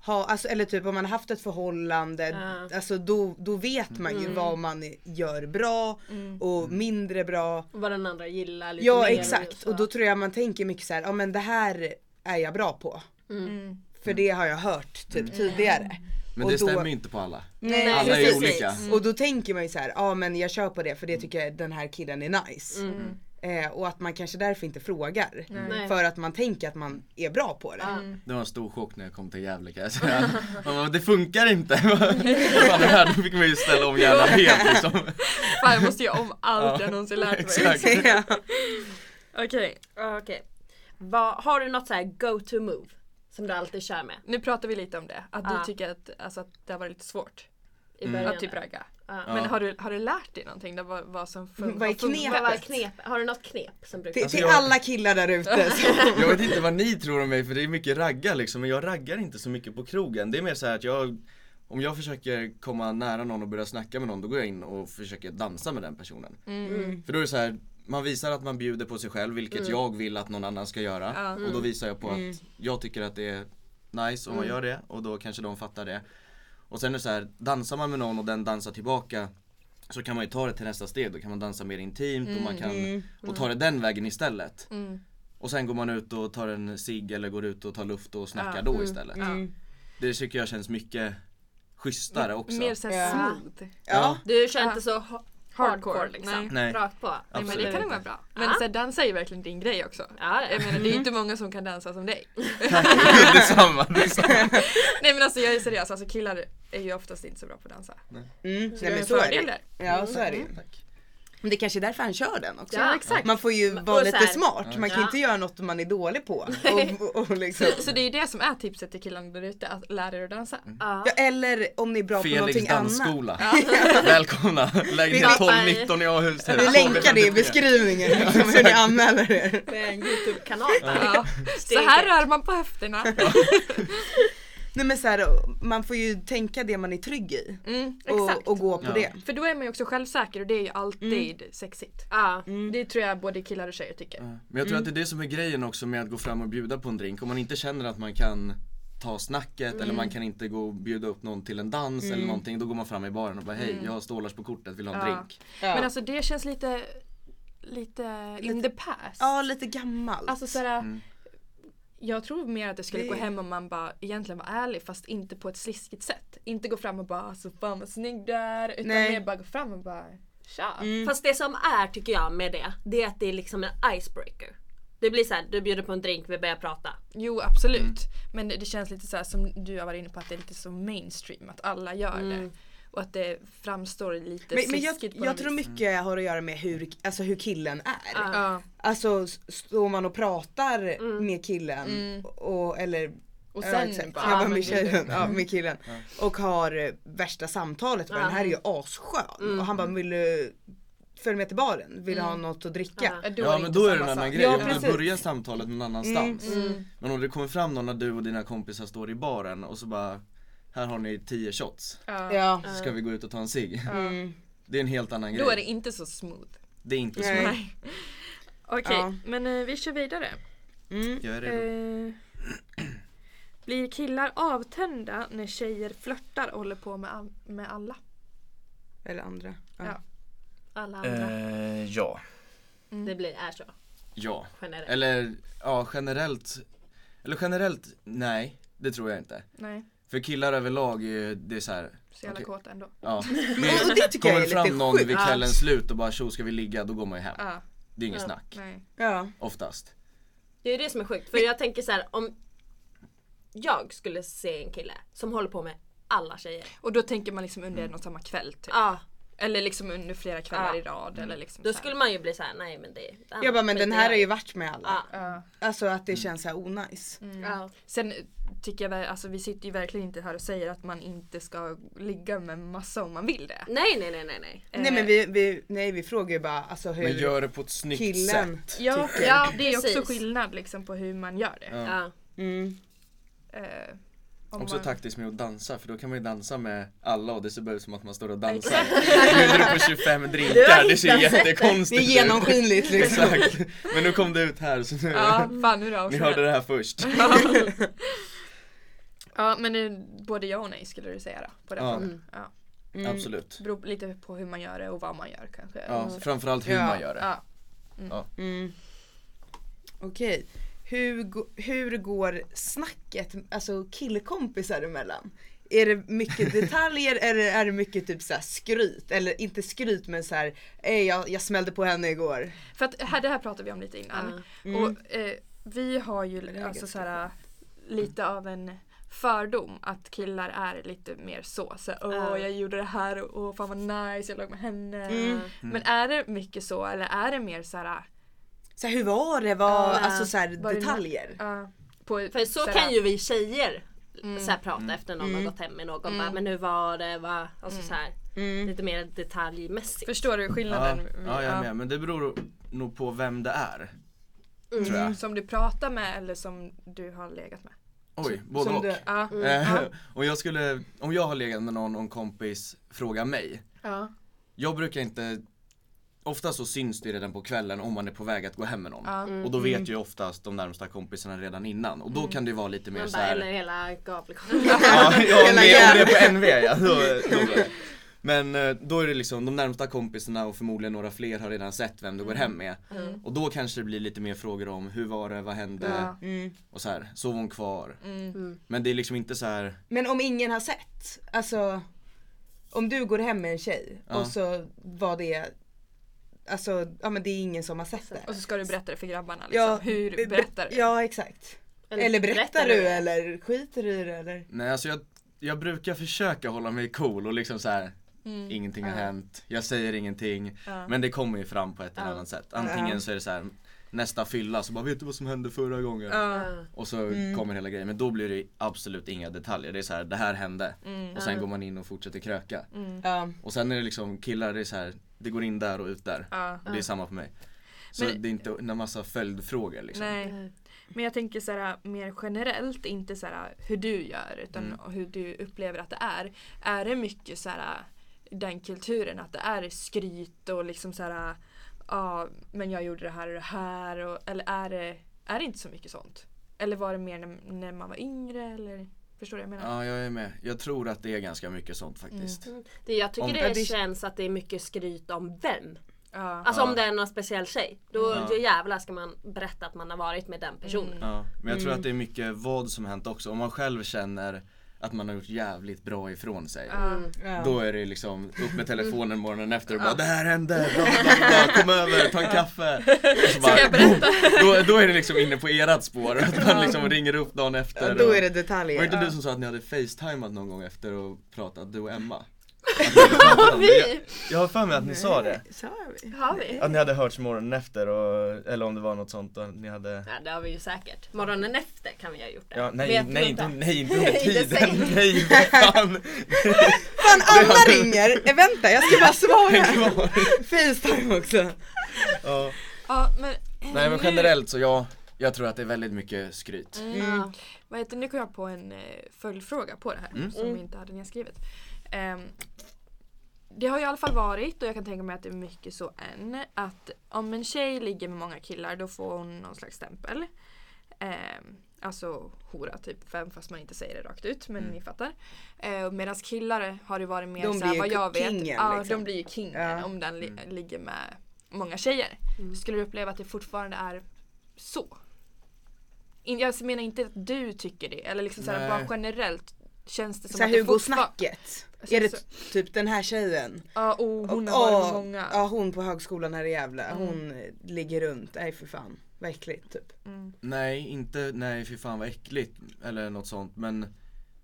har, alltså, eller typ om man har haft ett förhållande,
Ja. Mm.
alltså då, då vet man ju vad man gör bra och mindre bra.
Och Vad den andra gillar lite
Ja
Mm. mer liksom.
exakt
så.
och då tror jag man tänker mycket så här, ja men det här är jag bra på.
Mm.
För det har jag hört typ
Mm.
tidigare.
Men
Och
det
då-
stämmer ju inte på alla.
Nej,
Alla är
precis.
olika.
Mm.
Och då tänker man ju så här, ja men jag kör på det för det tycker jag den här killen är nice. Eh, och att man kanske därför inte frågar.
Mm. Nej.
För att man tänker att man är bra på det.
Det var en stor chock när jag kom till Gävle kan jag säga. Man bara, det funkar inte! Fan, det här, då fick man ju ställa om hjärnan helt liksom.
Fan jag måste göra om allt
Ja,
jag någonsin lärt mig.
Exakt.
Ja.
Okej,
Ja, Okej. Vad- Har du något så här go to move? Som du alltid kör med?
nu pratar vi lite om det. Att
Ja.
du tycker att, alltså, att det har varit lite svårt
I
Mm.
början?
att typ ragga.
Ja.
Men har du, har du lärt dig någonting? Då, vad, vad som fun-
Mm, Vad är
har funkat?
knepet?
Vad var knep? Har du något knep som brukar...
Till,
Alltså,
till
jag-
alla killar där ute. så-
Jag vet inte vad ni tror om mig för det är mycket raggar liksom men jag raggar inte så mycket på krogen. Det är mer så här att jag om jag försöker komma nära någon och börja snacka med någon då går jag in och försöker dansa med den personen.
Mm.
För då är det så här man visar att man bjuder på sig själv vilket jag vill att någon annan ska göra
Ja. Mm.
och då visar jag på att jag tycker att det är nice om man gör det och då kanske de fattar det. Och sen är det så här, dansar man med någon och den dansar tillbaka så kan man ju ta det till nästa steg, då kan man dansa mer intimt och man kan och ta det den vägen istället.
Mm.
Och sen går man ut och tar en cigg eller går ut och tar luft och snackar då
Mm,
istället. Det tycker jag känns mycket schysstare också.
Mer såhär
Ja.
smooth.
Ja.
Du kör
Ja.
inte så ha-
Hardcore,
Ah. hardcore, liksom?
nej.
Nej.
Rakt på?
Nej, men det
Absolut
kan nog
inte.
vara bra. Men
Ja.
så här, dansa är ju verkligen din grej också.
Ja, det
Jag menar det är ju inte många som kan dansa som dig.
detsamma, detsamma.
Nej men alltså jag är seriös, alltså killar är ju oftast inte så bra på att dansa.
Mm. Nej
Det är
men
en
så är
fördel
det.
där. Mm.
Ja så är det ju.
Tack.
Men det är kanske är därför han kör den också.
Ja, exakt.
Man får ju
Men-
vara
och så
lite
här-
smart.
Mm.
Man kan
Ja.
inte göra något man är dålig på. Och, och liksom.
Så det är ju det som är tipset till killarna där ute, att lära er att dansa.
Mm.
Ja.
ja, eller om ni är bra på
Felix
någonting annat.
dansskola. Välkomna! Lägenhet
Vi-
1219 i Ahus.
Vi länkar det i beskrivningen liksom, hur ni anmäler er.
Det är en YouTube-kanal där.
Ja. Så här rör man på höfterna.
Nej men så här, man får ju tänka det man är trygg i.
Mm, exakt.
Och, och gå på
Ja.
det.
För då är man ju också självsäker och det är ju alltid sexigt.
Ja.
Det tror jag både killar och tjejer tycker.
Men jag tror att det är det som är grejen också med att gå fram och bjuda på en drink. Om man inte känner att man kan ta snacket eller man kan inte gå och bjuda upp någon till en dans eller någonting. Då går man fram i baren och bara hej jag har stålars på kortet, vill du ha en
Ja.
drink?
Ja.
Men alltså det känns lite, lite in the past.
ja lite gammalt.
Alltså såhär, jag tror mer att det skulle
Det-
gå hem om man bara egentligen var ärlig fast inte på ett sliskigt sätt. Inte gå fram och bara alltså fan vad snygg du är. Utan
Nej.
mer bara gå fram och bara tja.
Fast det som är tycker jag med det, det är att det är liksom en icebreaker. Det blir så här, du bjuder på en drink, vi börjar prata.
Jo absolut. Men det, det känns lite såhär som du har varit inne på att det är lite så mainstream att alla gör det. Och att det framstår lite
men, men jag,
sliskigt på
jag
något
tror
vis.
mycket har att göra med hur, alltså, hur killen är.
Ja.
Alltså s- står man och pratar med killen och, eller
Mm. Och
ja,
sen
exakt.
bara,
ja,
ja,
men
men
med,
det är
tjejen, ja, med killen och har eh, värsta samtalet. Bara, Den här är ju asskön
Mm.
och han bara vill du följa med till baren? Vill du ha något att dricka?
Ja,
Ja
det
men
inte
då är det en
samma
annan
sak.
grej,
Ja,
om du
precis.
börjar samtalet någon annanstans Men om det kommer fram någon när du och dina kompisar står i baren och så bara Här har ni 10 shots,
Ja.
Ja.
så ska vi gå ut och ta en cigg?
Mm.
Det är en helt annan grej
Då är det inte så smooth.
Det är inte
Nej.
så
Nej. Okej,
Ja.
men eh, vi kör vidare.
Mm.
Jag är redo
Eh, blir killar avtända när tjejer flörtar och håller på med, all- med alla?
Eller andra. Ja.
Ja.
Eh.
Alla andra. Mm.
Ja
Det blir, är så.
Ja.
generellt.
Eller ja, generellt. Eller generellt, nej. Det tror jag inte.
Nej,
För killar överlag är ju, det är så här.
så jävla
Okej.
kåta ändå.
Ja.
Men, och det tycker jag
Kommer
är lite
fram någon
sjukt.
vid kvällens slut och bara tjo ska vi ligga, då går man ju hem.
Ja,
Det är inget
Ja.
snack.
nej.
Ja.
Oftast.
Det är det som är sjukt. För jag tänker så här om jag skulle se en kille som håller på med alla tjejer.
Och då tänker man liksom
Mm.
under en och samma kväll typ.
Ja,
Eller liksom under flera kvällar
Ja. Mm.
i rad eller liksom
då
så här.
skulle man ju bli så här: nej men det
Jag bara men den här har ju varit med
Ja.
alla.
Ja. Mm.
Alltså att det känns såhär onajs.
Ja.
Sen tycker jag, väl- alltså vi sitter ju verkligen inte här och säger att man inte ska ligga med massa om man vill det.
Nej nej nej nej nej.
Eh.
Nej men vi, vi, nej, vi frågar ju bara alltså hur
Men gör det på ett snyggt
killen.
sätt.
Ja, ja det är
Precis.
också skillnad liksom på hur man gör det.
Ja.
Ja.
Mm.
Eh, om
Också
man...
taktiskt med att dansa för då kan man ju dansa med alla och det ser bara ut som att man står och dansar. Bjuder du på 25 drinkar, det ser
hittat
Det
jättekonstigt
är
ut.
genomskinligt liksom.
Exakt. Men nu kom det ut här så nu,
Ja, fan hur
ni hörde
avslöjat.
det här först.
Ja men eh, både ja och nej skulle du säga då, på den
Ja.
frågan. Ja.
Mm.
Absolut.
Beror lite på hur man gör det och vad man gör kanske.
Ja, framförallt hur
Ja.
man gör det.
Mm. Ja.
Mm. Okej. Hur, go- hur går snacket, alltså killkompisar emellan? Är det mycket detaljer eller är det mycket typ så här skryt? Eller inte skryt men så här, "Ey, jag, jag smällde på henne igår.
För att här, det här pratade vi om lite
Ja.
innan.
Mm.
Och eh, vi har ju alltså så här, lite av en fördom att killar är lite mer så. så här, Åh
Ja.
jag gjorde det här och åh, fan vad nice jag låg med henne.
Mm.
Men är det mycket så eller är det mer så här,
Så här, hur var det? Var,
Ja.
alltså så här,
Var det-
detaljer.
ja, på,
För så
här-
kan ju vi tjejer
Mm.
så här,
Mm.
prata efter någon har gått hem med någon. Bara, men hur var det? Va? Alltså
Mm.
så här,
Mm.
Lite mer detaljmässigt.
Förstår du
Ja,
skillnaden? Mm.
ja, jag är med. Men det beror nog på vem det är. Tror jag.
Mm. Som du pratar med eller som du har legat med?
Oj, både och.
du-
Ja.
Eh,
Ja.
om, jag skulle, om jag har legat med någon och en kompis frågar mig.
Ja.
Jag brukar inte Ofta så syns det redan på kvällen om man är på väg att gå hem med någon.
Ja.
Och då vet ju oftast de närmsta kompisarna redan innan. Och då kan det vara lite mer
Man
så
bara,
här.
eller hela gapelkort.
Ja, ja
Hela
med, om det
jäveln.
är på NV ja. Då, då blir det. Men eh, då är det liksom de närmsta kompisarna och förmodligen några fler har redan sett vem du går hem med.
Mm.
Och då kanske det blir lite mer frågor om hur var det, vad hände
Ja.
Mm.
och så här. Sov hon kvar?
Mm.
Men det är liksom inte så här.
Men om ingen har sett, alltså om du går hem med en tjej
Ja.
och så var det, alltså ja men det är ingen som har sett det.
Och så ska du berätta det för grabbarna liksom. Hur
be-
berättar du?
Ja exakt. Eller, berättar du eller skiter du i det eller?
Nej alltså jag, jag brukar försöka hålla mig cool och liksom så här.
Mm.
Ingenting har hänt, jag säger ingenting.
Ja.
Men det kommer ju fram på ett eller
Ja.
annat sätt. Antingen så är det så här nästa fylla så bara vet du vad som hände förra gången?
Ja. Mm.
Ja.
Och så kommer hela grejen, men då blir det absolut inga detaljer. Det är så här, det här hände.
Mm.
Och sen går man in och fortsätter kröka.
Ja.
Och sen är det liksom killar, det är så här, det går in där och ut där.
Ja.
Och det är samma för mig. Så
Men-
det är inte en massa följdfrågor liksom.
Nej. Men jag tänker så här, mer generellt, inte så här, hur du gör utan
Mm.
hur du upplever att det är. Är det mycket så här, den kulturen att det är skryt och liksom så här ja men jag gjorde det här och det här och, eller är det, är det inte så mycket sånt? Eller var det mer när, när man var yngre eller förstår du vad jag menar?
Ja, jag är med. Jag tror att det är ganska mycket sånt faktiskt.
Mm.
Det, jag tycker
Om-
det,
Ja, det-
känns att det är mycket skryt om vem.
Ja.
Alltså
Ja.
om det är någon speciell tjej. Då, då jävlar ska man berätta att man har varit med den personen.
Mm.
Ja, men jag tror
Mm.
att det är mycket vad som hänt också. Om man själv känner att man har gjort jävligt bra ifrån sig.
Ja.
Då är det liksom upp med telefonen morgonen efter och bara det här hände, bla, bla, bla, kom över, ta en kaffe. Och så bara,
jag berätta?
Då, då är det liksom inne på ert spår, att man liksom ringer upp dagen efter.
Då
och-
är det
Var det
detaljer.
inte du som sa att ni hade facetimat någon gång efter och pratat, du och Emma?
Vi-
Jag har för mig att ni sa det.
Sa vi?
Har vi?
Att ni hade hörts morgonen efter och, eller om det var något sånt och ni hade
Ja, det har vi ju säkert. Morgonen efter kan vi ha gjort det.
Ja, nej,
Vet
nej,
du
inte,
inte?
nej, inte under
Inte
tiden,
sen.
nej vad fan!
Fan alla ringer! Eh, vänta jag ska bara svara!
Kvar.
Facetime också.
Ja.
Ja, men,
Nej men
nu-
generellt så ja, jag tror att det är väldigt mycket skryt.
Mm.
Ja.
Vad heter, det? nu kom jag på en eh, följdfråga på det här som
Mm.
vi inte hade nedskrivet. Ehm, det har ju i alla fall varit, och jag kan tänka mig att det är mycket så än, att om en tjej ligger med många killar då får hon någon slags stämpel. Ehm, alltså hora typ, fem, fast man inte säger det rakt ut men ni fattar. Uh, Medan killar har det varit mer
De
såhär
blir
vad
ju
jag vet.
kingen,
ja,
liksom.
de blir ju kingen
Ja. Mm.
om den li- ligger med många tjejer. Skulle du uppleva att det fortfarande är så? In, jag menar inte att du tycker det, eller liksom såhär,
Nej.
bara generellt känns det som
Så här,
att det
hur går
fortfar-
snacket?
Alltså,
Är det
så-
t- typ den här tjejen?
Ja, oh, hon
Och-
har varit
ja,
med många. Mm.
Ja hon på högskolan här i Gävle, hon eh, ligger runt, nej för fan, verkligt typ.
Nej, inte nej fy fan vad äckligt eller något sånt men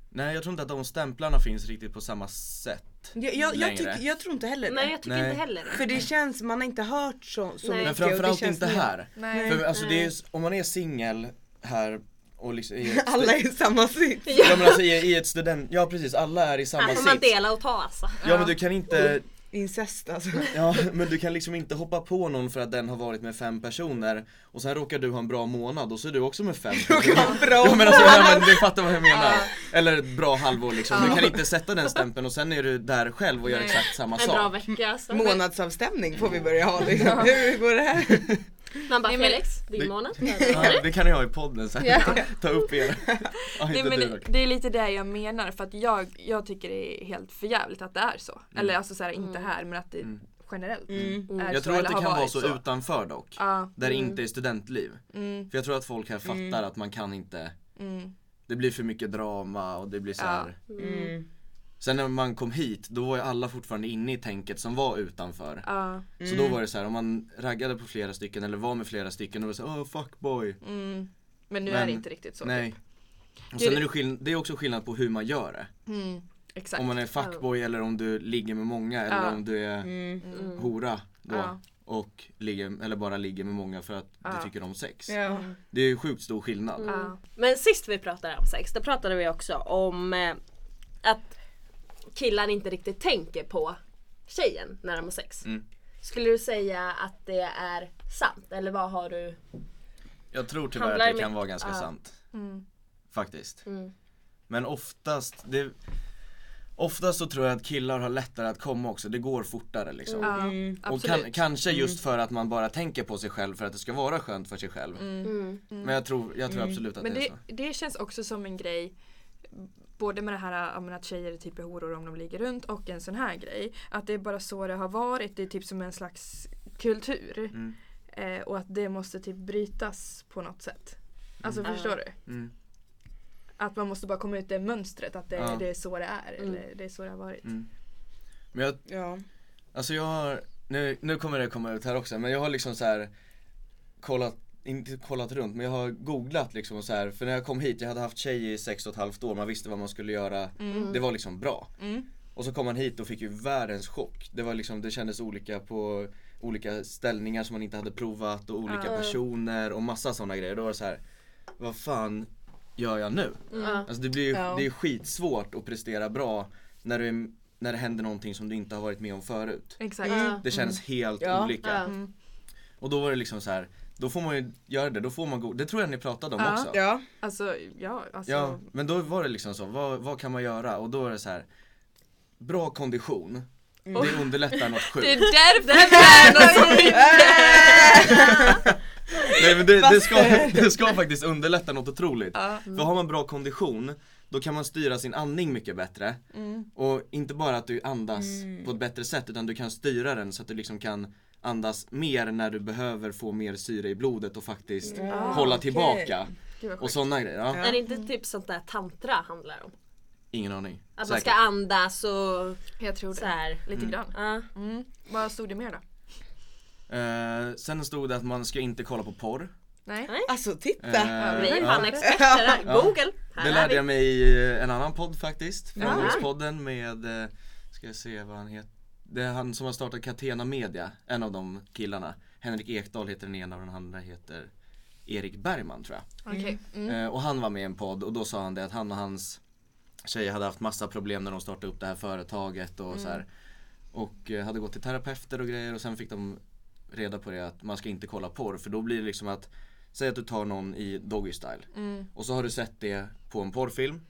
Nej jag tror inte att de stämplarna finns riktigt på samma sätt
Jag, jag, jag,
längre.
tycker- jag tror inte heller det.
Nej jag tycker
Nej.
inte heller det.
För det känns, man har inte hört så, så
Nej.
mycket.
Men
och det
framförallt
känns
inte
mer-
här.
Nej.
För alltså det är, om man är singel här och liksom i ett,
Alla är i samma sits.
ja, men alltså, i, i ett student, ja precis alla är i samma
Alltså,
Här får man
sits.
dela och ta alltså.
Ja men du kan
Mm.
inte,
Incest alltså.
ja men du kan liksom inte hoppa på någon för att den har varit med fem personer och sen råkar du ha en bra månad och så är du också med fem personer.
Bra.
Ja men alltså nej, men du fattar vad jag menar. Eller ett bra halvår liksom. Du kan inte sätta den stämpeln och sen är du där själv och gör
Nej.
exakt samma
En bra
sak.
vecka alltså.
Månadsavstämning får vi börja ha liksom. Hur går det här?
Man bara
Nej, men-
Felix, din
Det-
månad.
Ja, det kan jag ha i podden sen.
Ja.
Ta upp er. Ja,
Nej,
inte
men
du
det,
dock.
det är lite det jag menar för att jag, jag tycker det är helt förjävligt att det är så.
Mm.
Eller alltså såhär,
Mm.
inte här men att det generellt är
Jag
så
tror att
eller
det
har
kan vara
varit
så, utanför dock.
Ja. mm,
Där det inte är studentliv. För jag tror att folk här fattar att man kan inte Det blir för mycket drama och det blir så här.
Mm.
Mm.
Sen när man kom hit, då var ju alla fortfarande inne i tänket som var utanför.
Ja.
Så då var det så här, om man raggade på flera stycken eller var med flera stycken, då var det såhär oh, fuckboy.
mm. Men nu är
Men-
det inte riktigt så.
Nej. Och
Det är
sen
det-
är det, skill- det är också skillnad på hur man gör det.
Mm, exakt.
Om man är fuckboy eller om du ligger med många eller
Ja. Mm.
om du är
Mm.
hora då.
Ja.
Och ligger, eller bara ligger med många för att du tycker om sex.
Ja.
Mm.
Det är ju sjukt stor skillnad.
Ja.
Men sist vi pratade om sex, då pratade vi också om eh, att killar inte riktigt tänker på tjejen när de har sex.
Mm.
Skulle du säga att det är sant? Eller vad har du?
Jag tror tyvärr
Handlar
att det
med-
kan vara ganska
ja.
sant.
Mm.
Faktiskt. Men oftast, det, oftast så tror jag att killar har lättare att komma också. Det går fortare liksom.
Ja,
Mm.
Och
Mm. absolut. Mm.
kan, kanske just för att man bara tänker på sig själv för att det ska vara skönt för sig själv. Men jag tror, jag tror absolut att
Mm. Men
det är
det,
så.
det känns också som en grej Både med det här ja, men att tjejer typ är horor om de ligger runt och en sån här grej. Att det är bara så det har varit. Det är typ som en slags kultur.
Mm.
Eh, och att det måste typ brytas på något sätt. Alltså förstår du?
Mm.
Att man måste bara komma ut det mönstret. Att det,
Ja. Mm.
det är så det är.
Mm.
Eller det är så det har varit.
Men jag,
Ja.
alltså jag har, nu, nu kommer det komma ut här också, men jag har liksom så här kollat, inte kollat runt, men jag har googlat liksom och så här, för när jag kom hit, jag hade haft tjej i sex och ett halvt år, man visste vad man skulle göra, det var liksom bra. Och så kom man hit och fick ju världens chock. Det var liksom, det kändes olika på olika ställningar som man inte hade provat och olika personer och massa sådana grejer. Då var det så här, vad fan gör jag nu?
Mm.
Alltså det blir ju,
Ja.
det är skitsvårt att prestera bra när, du, när det händer någonting som du inte har varit med om förut.
Exakt. Mm.
Det känns helt
Ja.
olika. Och då var det liksom så här, då får man ju göra det, då får man gå, det tror jag ni pratade om
Ja.
också.
Ja.
Alltså ja. Alltså,
Ja, men då var det liksom så, vad, vad kan man göra? Och då är det så här, bra kondition,
Mm.
det underlättar något
Det är
sjukt.
därför det är något som
Nej men det, det, ska, det ska faktiskt underlätta något otroligt.
Ja.
För har man bra kondition, då kan man styra sin andning mycket bättre.
Mm.
Och inte bara att du andas på ett bättre sätt, utan du kan styra den så att du liksom kan andas mer när du behöver få mer syre i blodet och faktiskt
Ah,
hålla
okej.
tillbaka.
Gud, vad
Och sådana grejer. Ja.
Är det inte typ sånt där tantra handlar om?
Ingen aning.
Att man
Säkert.
ska andas och
Jag tror
så
det.
här.
Lite grann.
Ja.
Mm. Vad stod det mer då?
Eh, sen stod det att man ska inte kolla på porr.
Nej.
Mm.
Alltså titta.
Eh,
Vi är
ja.
fan experter här.
Ja.
Google! Här
Det
är
lärde
vi.
jag mig i eh, en annan podd faktiskt. Framgångspodden med, eh, ska jag se vad han heter. Det är han som har startat Catena Media, en av de killarna. Henrik Ekdahl heter den ena och den andra heter Erik Bergman tror jag.
Okej. Mm.
Eh, Och han var med i en podd och då sa han det att han och hans tjej hade haft massa problem när de startade upp det här företaget och så här. Och eh, hade gått till terapeuter och grejer och sen fick de reda på det att man ska inte kolla porr för då blir det liksom att Säg att du tar någon i doggy style och så har du sett det på en porrfilm.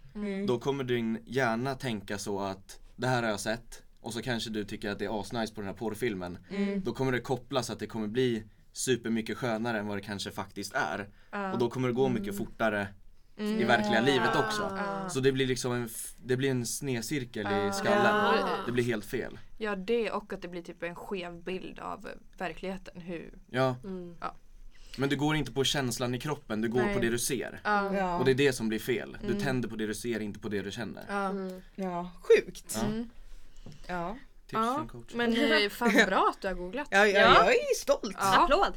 Då kommer din hjärna tänka så att det här har jag sett och så kanske du tycker att det är asnice på den här porrfilmen. Då kommer det kopplas att det kommer bli supermycket skönare än vad det kanske faktiskt är. Och då kommer det gå mycket fortare i verkliga livet också.
Ah.
Så det blir liksom en, f- det blir en snedcirkel i skallen.
Ja.
Det blir helt fel.
Ja, det och att det blir typ en skev bild av eh, verkligheten. Hur...
Ja.
Mm.
Ja.
Men du går inte på känslan i kroppen, du går
Nej.
på det du ser.
Ja. Mm.
Ja.
Och det är det som blir fel. Du tänder på det du ser, inte på det du känner.
Ja.
Mm.
Mm.
ja. Sjukt.
Mm.
Ja.
Tips
Ja.
från coachen.
Men eh, fan bra att du har googlat.
Ja, ja,
Ja.
jag är stolt.
Ja.
Applåd!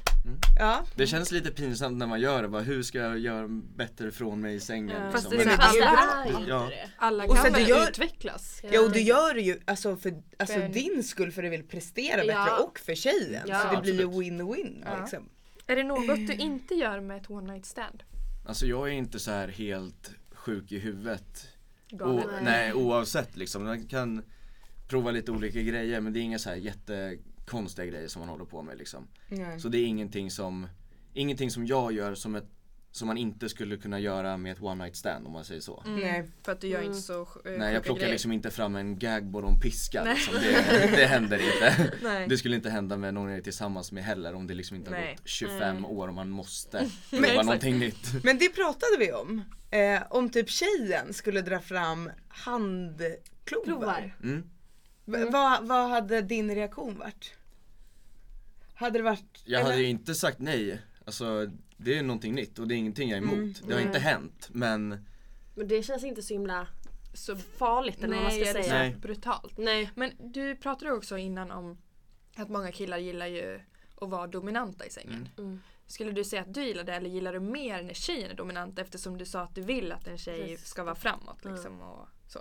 Ja.
Det känns lite pinsamt när man gör det. Bara, hur ska jag göra bättre från mig i sängen?
Ja.
Liksom.
Fast det är
Men
så här-
Fast det
Alla-
är inte
Ja.
det.
Alla
Och
kan
sen
väl
du gör-
utvecklas?
Ja och du gör det ju alltså för, alltså
För-
din skull för du vill prestera bättre
Ja.
och för tjejen.
Ja,
så det blir ju
absolut.
win-win
Ja.
liksom.
Är det något du inte gör med ett one night stand?
Alltså jag är inte så här helt sjuk i huvudet.
Galen.
O- Oh, nej, oavsett liksom. Man kan prova lite olika grejer men det är inga så här jättekonstiga grejer som man håller på med liksom.
Nej.
Så det är ingenting som, ingenting som jag gör som, ett, som man inte skulle kunna göra med ett one night stand om man säger så.
Nej.
För att du gör inte så sj- eh,
Nej jag
Mm, sjuka
plockar
grejer.
liksom inte fram en gagboard och en piska liksom. det, det händer inte.
Nej.
Det skulle inte hända med någon jag är tillsammans med heller om det liksom inte har
Nej.
gått 25 år och man måste
Nej,
prova
exakt.
någonting nytt.
Men det pratade vi om. Eh, om typ tjejen skulle dra fram handklovar.
Provar.
Mm.
V- Vad, vad hade din reaktion varit? Hade det varit...
Jag hade
eller-
ju inte sagt nej. Alltså det är någonting nytt och det är ingenting jag är emot.
Mm,
Det har inte hänt men
Men det känns inte så himla
Så
farligt eller vad man ska
nej, är det
säga.
så
Nej.
brutalt.
Nej.
Men du pratade också innan om att många killar gillar ju att vara dominanta i sängen.
Mm.
Skulle du säga att du gillar det eller gillar du mer när tjejen är dominant eftersom du sa att du vill att en tjej
Precis.
ska vara framåt liksom och så.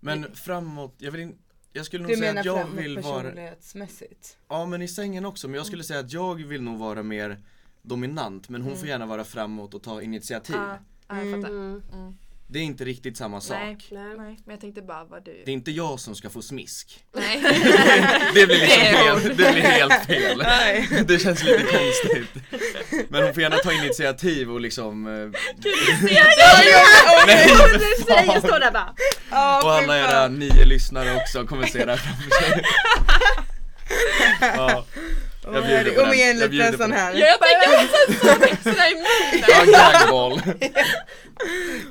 Men framåt, jag vill inte jag skulle nog
Du
säga
menar
att jag
framåt
vill vara,
personlighetsmässigt?
ja men i sängen också, men jag
Mm.
skulle säga att jag vill nog vara mer dominant men hon
Mm.
får gärna vara framåt och ta initiativ.
Ah.
Ja, ja, Ah, jag fattar.
Mm.
Det är inte riktigt samma sak.
Nej,
Nej.
nej, men jag tänkte bara vad du...
Det är inte jag som ska få smisk.
Nej.
Det blir liksom
Det är
helt, det blir helt fel. Det känns lite konstigt. Men hon får gärna ta initiativ och liksom eh, Nej, för fan.
Tjejen står där bara.
Ja,
Och
fy
alla era
fan.
nio lyssnare också kommer se det här framför sig. Ja, jag bjuder på
Och med
den.
en
Jag bjuder
liten
på
sån
den.
här.
Ja, jag tänker också en sån extra emot
Ja, gagball.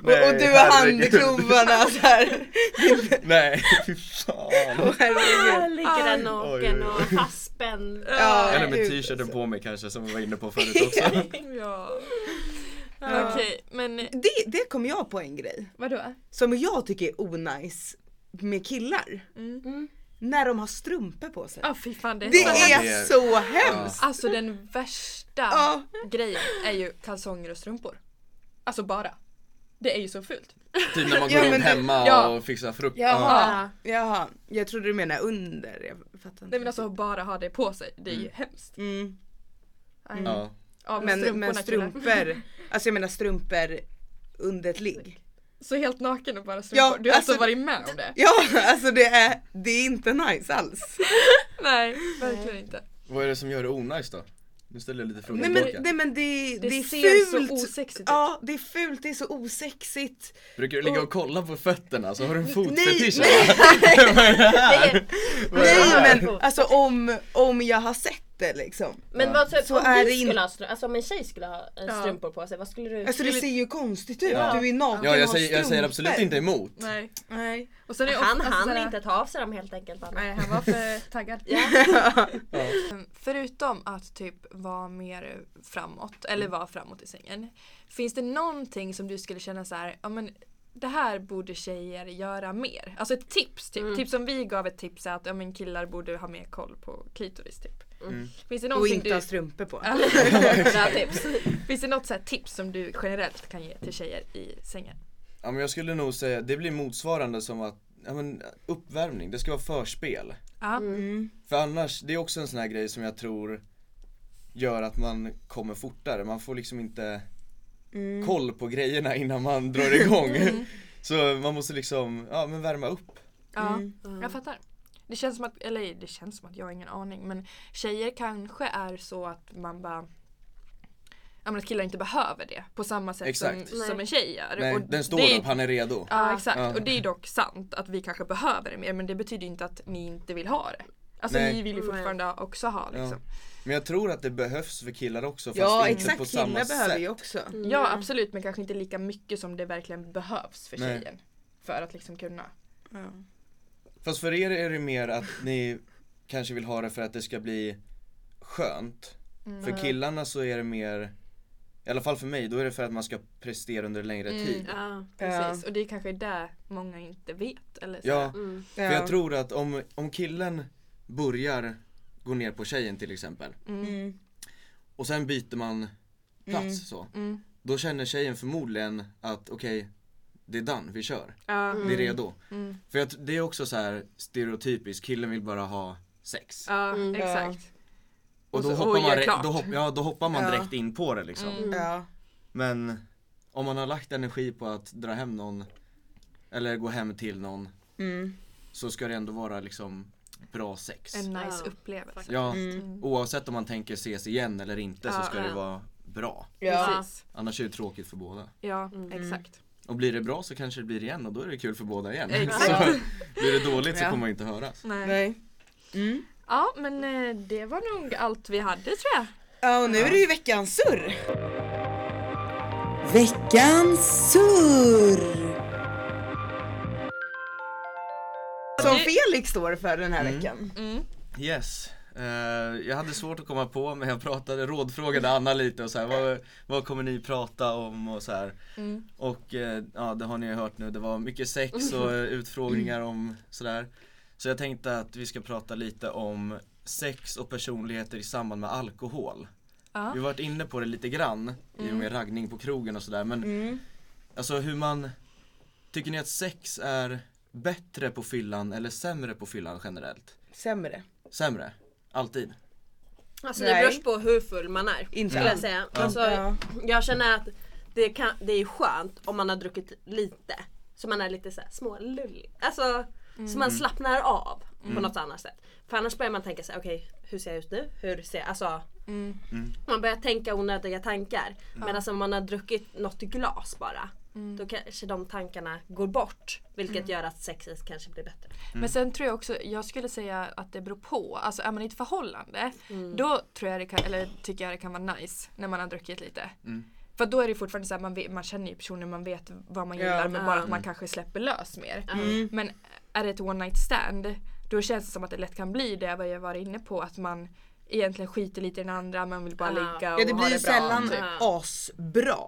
och, och du har handklovarna såhär.
Nej, fy fan.
Åh, herregud.
Här ligger den naken
Oj, oj,
och fastspänd.
Ja,
Eller med
gud,
t-shirten
alltså.
på mig kanske som vi var inne på förut också.
Ja.
Ja.
Okej, men
Det, det kom jag på en grej
vadå?
som jag tycker är onajs med killar.
Mm.
När de har strumpor på
Mm.
sig.
Ja Ah, fy fan det är,
Det
så
Ja,
är
det är-
så hemskt!
Alltså den värsta
Ja.
grejen är ju kalsonger och strumpor. Alltså bara. Det är ju så fult.
Typ när man
Ja,
går
men
runt
det-
hemma
ja.
och fixar frukost.
Jaha.
Ja.
Ja.
Jaha, jag trodde du menade under. Jag fattar inte.
Nej men alltså bara ha det på sig, det är ju hemskt.
mm.
Nej.
Ja.
Ja,
Men,
strumporna,
men
killar.
strumpor, alltså jag menar strumpor under ett ligg.
Så helt naken och bara strumpor.
Ja,
du har alltså,
alltså-
varit med om det?
Ja, alltså det är, det är inte nice alls.
Nej, verkligen inte.
Vad är det som gör det onajs då? Nu ställer jag lite frågor
Nej men,
tillbaka.
nej, men det, det,
Det
är
ser så
fult.
osexigt ut.
Ja, det är fult, det är så osexigt.
Brukar du ligga och kolla på fötterna? Så har du en fotfetisch?
nej.
eller? Vad är det här? Vad är det här?
Nej men alltså om, om jag har sett det liksom.
Men vad, så,
Så
om,
är
vi
det in-
skulle ha, stru- alltså, om en tjej skulle ha eh, strumpor på sig, vad skulle du?
Alltså det ser ju konstigt ut,
Ja.
du är naken
Ja,
och
jag
har
säger, jag säger absolut
strumpor.
inte emot.
Nej.
Nej.
Och sen är det alltså
han
ofta-
hann
sådär-
inte ta av sig dem helt enkelt. Anna.
Nej, han var för taggad.
Ja.
Mm, Förutom att typ vara mer framåt, eller
Mm.
vara framåt i sängen. Finns det någonting som du skulle känna så här, ja men det här borde tjejer göra mer? Alltså ett tips, typ.
Mm.
Tips som vi gav ett tips är att ja, men killar borde ha mer koll på klitoris typ. Finns det
Mm. Och
någonting
inte
du,
ha strumpor på.
Bra tips.
finns det något så här tips som du generellt kan ge till tjejer i sängen?
Ja men jag skulle nog säga, det blir motsvarande som att, ja men uppvärmning, det ska vara förspel.
Ja,
För annars, det är också en sån här grej som jag tror gör att man kommer fortare, man får liksom inte koll på grejerna innan man drar igång. Så man måste liksom, ja men värma upp.
ja
Mm.
jag fattar. Det känns som att, eller det känns som att jag har ingen aning men tjejer kanske är så att man bara Ja men att killar inte behöver det på samma sätt
Exakt.
som, som en tjej gör.
Nej,
Och
den står
det är-
upp, han är redo.
Ja exakt
Ja.
och det är dock sant att vi kanske behöver det mer men det betyder ju inte att ni inte vill ha det. Alltså
Nej.
vi vill ju
Nej.
fortfarande också ha liksom.
Men jag tror att det behövs för killar också fast
Ja
inte
exakt,
på samma
killar behöver
sätt.
ju också.
Ja. absolut men kanske inte lika mycket som det verkligen behövs för
Nej.
tjejen. För att liksom kunna.
Ja.
Fast för er är det mer att ni kanske vill ha det för att det ska bli skönt. För killarna så är det mer, i alla fall för mig, då är det för att man ska prestera under längre
Mm.
tid.
Ja.
Precis och det är kanske det många inte vet. Eller så.
Ja,
Mm.
för jag tror att om, om killen börjar gå ner på tjejen till exempel
Mm.
och sen byter man plats
Mm.
så.
Mm.
Då känner tjejen förmodligen att okej, det är done, vi kör.
Ja.
Vi är redo.
Mm.
För jag, tr- det är också så här stereotypiskt, killen vill bara ha sex.
Ja,
Mm.
exakt.
och då
och så-
hoppar,
och
man,
gör
re-
klart.
då, hopp, ja, då hoppar man
Ja.
direkt in på det liksom.
Mm.
Ja.
Men om man har lagt energi på att dra hem någon eller gå hem till någon
Mm.
så ska det ändå vara liksom bra sex.
En nice
Ja.
upplevelse.
Ja,
Mm.
oavsett om man tänker ses igen eller inte så
Ja,
ska det
ja.
vara bra.
Ja.
Precis. Mm.
Annars är det tråkigt för båda.
Ja, exakt.
Och blir det bra så kanske det blir igen och då är det kul för båda igen.
Exakt.
Så blir det dåligt så
Ja.
kommer man inte höras.
Nej.
Nej. Mm.
Ja, men eh, det var nog allt vi hade tror jag.
Ja och nu är det ju veckans surr.
Veckans surr!
Som Felix står för den här
Mm.
veckan.
Mm.
Yes. Eh, jag hade svårt att komma på men jag pratade, rådfrågade Anna lite och så här, vad, vad kommer ni prata om och så här. Och eh, ja, det har ni ju hört nu, det var mycket sex och eh, utfrågningar om sådär. Så jag tänkte att vi ska prata lite om sex och personligheter i samband med alkohol.
Ja.
Vi har varit inne på det lite grann i och
Mm.
med raggning på krogen och sådär men Alltså hur man Tycker ni att sex är bättre på fyllan eller sämre på fyllan generellt?
Sämre.
Sämre? Alltid?
Alltså
Nej.
det beror på hur full man är.
Inte
Skulle jag
alls.
säga.
Ja.
Alltså,
Ja.
Jag känner att det, kan, det är skönt om man har druckit lite. Så man är lite så här smålullig. Alltså, Så man slappnar av på något annat sätt. För annars börjar man tänka sig, okej hur ser jag ut nu? Hur ser jag? Alltså, Man börjar tänka onödiga tankar. Medan om man har druckit något glas bara. Då kanske de tankarna går bort. Vilket gör att sexet kanske blir bättre.
Men sen tror jag också, jag skulle säga att det beror på. Alltså är man i ett förhållande, då tror jag det kan, eller tycker jag det kan vara nice när man har druckit lite. För då är det fortfarande så här, man, vet, man känner ju personen, man vet vad man gillar men bara att man kanske släpper lös mer.
Mm.
Men är det ett one night stand, då känns det som att det lätt kan bli det vad jag var inne på, att man egentligen skiter lite i den andra, man vill bara
Ja.
ligga och
Ja det
ha
blir ju
det bra.
sällan
typ.
asbra.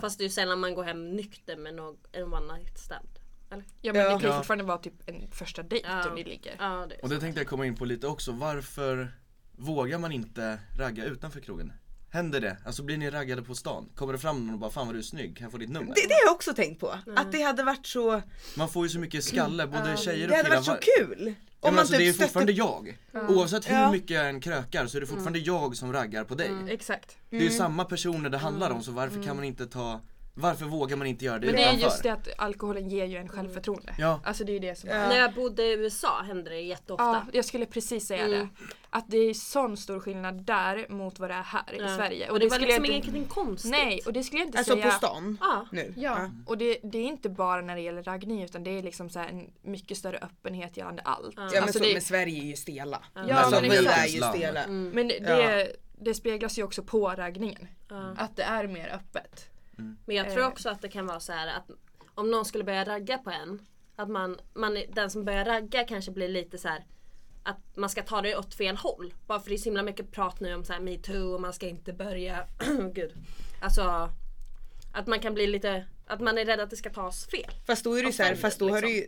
Fast det är ju sällan man går hem nykter med någon, en one night stand. Eller?
Ja men det kan ju
Ja.
fortfarande vara typ en första dejt
Ja.
och ni ligger.
Ja, det är
Och det tänkte jag komma in på lite också, varför vågar man inte ragga utanför krogen? Händer det? Alltså blir ni raggade på stan? Kommer det fram någon och bara 'Fan vad du är snygg, kan jag få ditt nummer?'
Det, det har jag också tänkt på. Att det hade varit så,
Man får ju så mycket skalle, både tjejer och
det hade
killar
varit så kul. Om
Ja, men
man
alltså, det är ju
typ
fortfarande
stötte,
jag. Oavsett hur
Ja. Mm.
mycket jag än krökar så är det fortfarande jag som raggar på dig.
Exakt.
Det är ju samma personer det handlar om så varför kan man inte ta Varför vågar man inte göra det
Men det är
utanför?
just det att alkoholen ger ju en självförtroende.
Ja.
Alltså det är ju det som
Ja.
När jag bodde i USA hände det jätteofta.
Ja, jag skulle precis säga
Mm.
det. Att det är sån stor skillnad där mot vad det är här i
Ja.
Sverige.
Och det, var
skulle
liksom
jag
ingenting konstigt.
Nej, och det skulle jag inte
alltså
säga.
på stan
Ja.
nu.
Ja, och det, det är inte bara när det gäller raggning utan det är liksom så här en mycket större öppenhet gällande allt.
Ja men,
Alltså
så,
det-
men Sverige är ju stela.
Ja, Mm.
alltså
men
vi
exakt.
är ju stela.
men det, det, det speglas ju också på raggningen. Att det är mer öppet.
Men jag tror också att det kan vara så här att om någon skulle börja ragga på en. Att man, man, är- den som börjar ragga kanske blir lite så här att man ska ta det åt fel håll. Bara för det är så himla mycket prat nu om så här metoo och man ska inte börja. Gud. Alltså att man kan bli lite, att man är rädd att det ska tas fel.
Fast då är det ju
Och
så här,
sen,
fast då har du ju,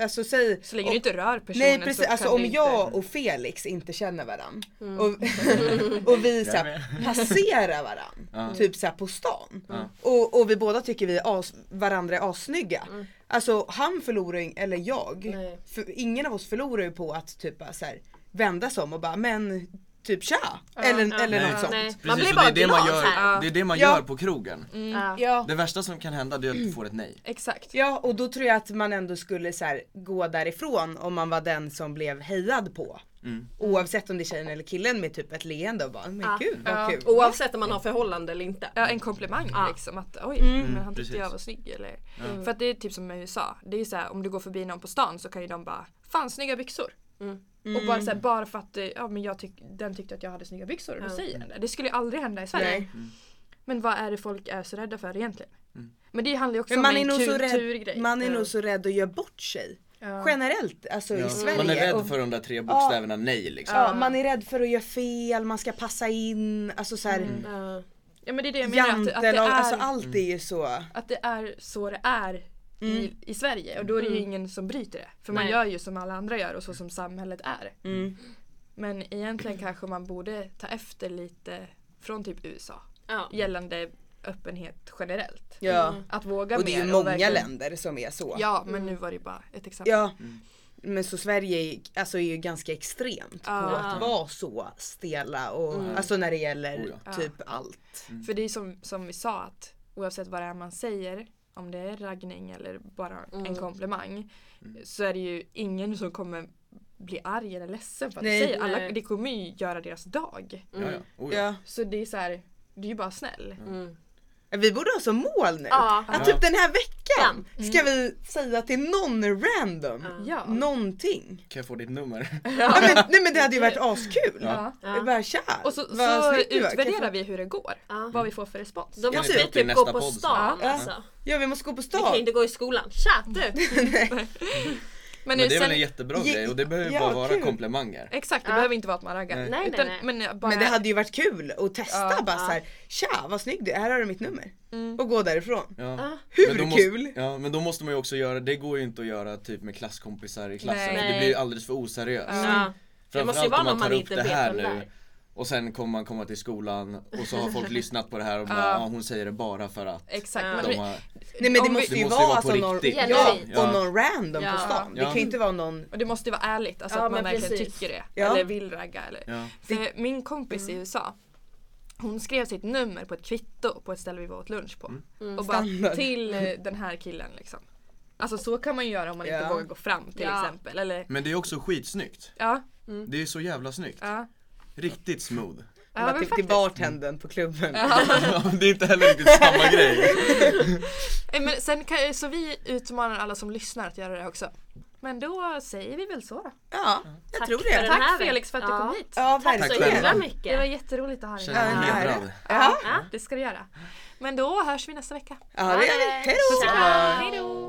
alltså säg
liksom. Så länge
om-
du inte rör personen
Nej precis,
så
alltså
kan
om
det inte... Mm.
jag och Felix inte känner varandra och, och vi så här, passerar varandra, typ så här på stan. Och, och vi båda tycker vi är as, varandra är assnygga.
Mm.
Alltså han förlorar ju, eller jag,
Nej.
för, ingen av oss förlorar ju på att typ bara så här, vända sig om och bara men typ tja! eller eller
Nej.
något sånt.
Nej.
Precis,
Man blir
och
bara
det är det man
glad så här.
gör, Det är det man
Ja.
gör på krogen.
Ja.
Ja.
Det värsta som kan hända det är att du får ett nej.
Exakt.
ja och då tror jag att man ändå skulle så här, gå därifrån om man var den som blev hejad på.
Mm.
Oavsett om det är tjejen eller killen med typ ett leende och bara men gud vad
Ja.
kul.
Oavsett om man har förhållande eller inte.
Ja, en komplimang
Ah.
liksom att oj,
Mm.
men han tyckte
Mm, precis.
jag var snygg eller För att det är typ som med USA, det är ju såhär om du går förbi någon på stan så kan ju de bara Fan snygga byxor!
Mm.
Och bara, så här, bara för att eh, ja, men jag tyck, den tyckte att jag hade snygga byxor och då
Ja.
säger jag det. Det skulle ju aldrig hända i Sverige.
Nej.
Men vad är det folk är så rädda för egentligen?
Mm.
Men det handlar ju också
Men man
om
är,
en
nog så rädd,
kulturgrej.
man är
Ja.
nog så rädd att göra bort sig.
Ja.
Generellt, alltså i Sverige.
Man är rädd
Och-
för de där tre bokstäverna nej liksom.
Ja, man är rädd för att göra fel, man ska passa in, alltså såhär mm.
Ja.
ja men det är det jag menar. Att, att, det är,
jantelag, alltså allt är ju så.
att det är så det är
Mm.
i, i Sverige. Och då är det ju ingen som bryter det. För man
Nej.
gör ju som alla andra gör och så som samhället är.
Mm.
Men egentligen kanske man borde ta efter lite från typ USA.
Ja.
Gällande öppenhet generellt.
Ja.
Att Mm. våga
Och det är
mer
ju många
verkligen-
länder som är så.
Ja men nu var det bara ett exempel.
Ja.
Mm.
Men så Sverige är, alltså, är ju ganska extremt på
Ja.
att vara så stela och alltså när det gäller
Oh
typ allt.
För det är som, som vi sa att oavsett vad det är man säger om det är raggning eller bara en komplimang
Mm.
så är det ju ingen som kommer bli arg eller ledsen för att
Nej.
du säger alla,
Nej.
Det kommer ju göra deras dag.
Mm.
Ja, ja. Oh, ja.
Ja.
Så det är så här, du är ju bara snäll.
Mm.
Vi borde ha som mål nu.
Ja.
Att typ den här veckan ska vi säga till någon random
Ja.
någonting.
Kan jag få ditt nummer?
Ja. men, nej men det hade ju varit askul.
Ja.
Bara tja,
Och så,
vad
så
snygg du var. Kan jag få-
utvärderar vi hur det går.
Ja.
Vad vi får för respons.
Då måste
ni ta
vi
upp det i
typ
nästa
gå på
podd sen?
stan
Ja.
alltså.
Ja vi måste gå på
Vi kan ju
stan.
inte gå i skolan. Tja du!
Men,
Men det är
sen,
väl en jättebra
Ge-
grej och det behöver
ja,
bara vara
kul.
komplimanger.
Exakt, det
Ja.
behöver inte vara att man raggar.
Nej.
Nej, nej,
Utan,
nej.
Men, bara,
Men det hade ju varit kul att testa
Ja,
bara
ja.
såhär Tja vad snygg du är, här har du mitt nummer. Och gå därifrån.
Ja.
Hur
Men då
kul?
Måste, ja men då måste man ju också göra, det går ju inte att göra typ med klasskompisar i klassen
Nej.
för det blir ju alldeles för oseriöst.
Ja. Det måste ju
Framförallt
vara
om
någon
man
man
tar upp
inte
det
vet
här
vem det
nu
är.
och sen kommer man komma till skolan och så har folk lyssnat på det här och bara ja hon säger det bara för att
Exakt.
Ja.
Men,
de har...
Nej men det
Om vi-
måste
Det
ju
måste
vara
ju vara på
alltså någon,
riktigt.
ja,
Genuint.
och någon random
Ja.
på stan. Det
Ja.
kan ju inte vara någon
Och det måste ju vara ärligt, alltså
Ja,
att man
men
verkligen
precis. Mm.
tycker det.
Ja.
Eller vill ragga. Eller.
Ja.
För min kompis i USA, hon skrev sitt nummer på ett kvitto på ett ställe vi var åt lunch på.
Mm.
Mm.
Och bara
Standard.
till eh, den här killen liksom. Alltså så kan man ju göra om man
Ja.
inte vågar gå fram till
Ja.
exempel. Eller,
Men det är också skitsnyggt.
ja,
Mm.
Det är så jävla snyggt.
ja.
Riktigt smooth.
Ja, men
till, till
faktiskt.
bartenden på klubben.
Ja, det är inte heller riktigt samma grej.
Eh, Men sen kan, så vi utmanar alla som lyssnar att göra det också. Men då säger vi väl så då.
Ja, jag
Tack
tror
för
det.
den här
Tack Felix för att du
veckan.
kom
Ja.
hit.
Ja
Tack så
verkligen.
själva.
himla
Det var
mycket.
jätteroligt att ha dig här.
Känner mig
Ja, det är
hedrad.
Ja,
Ja.
Det ska du göra. Men då hörs vi nästa vecka.
ja det gör vi. Hejdå!
Tja.
Hej då!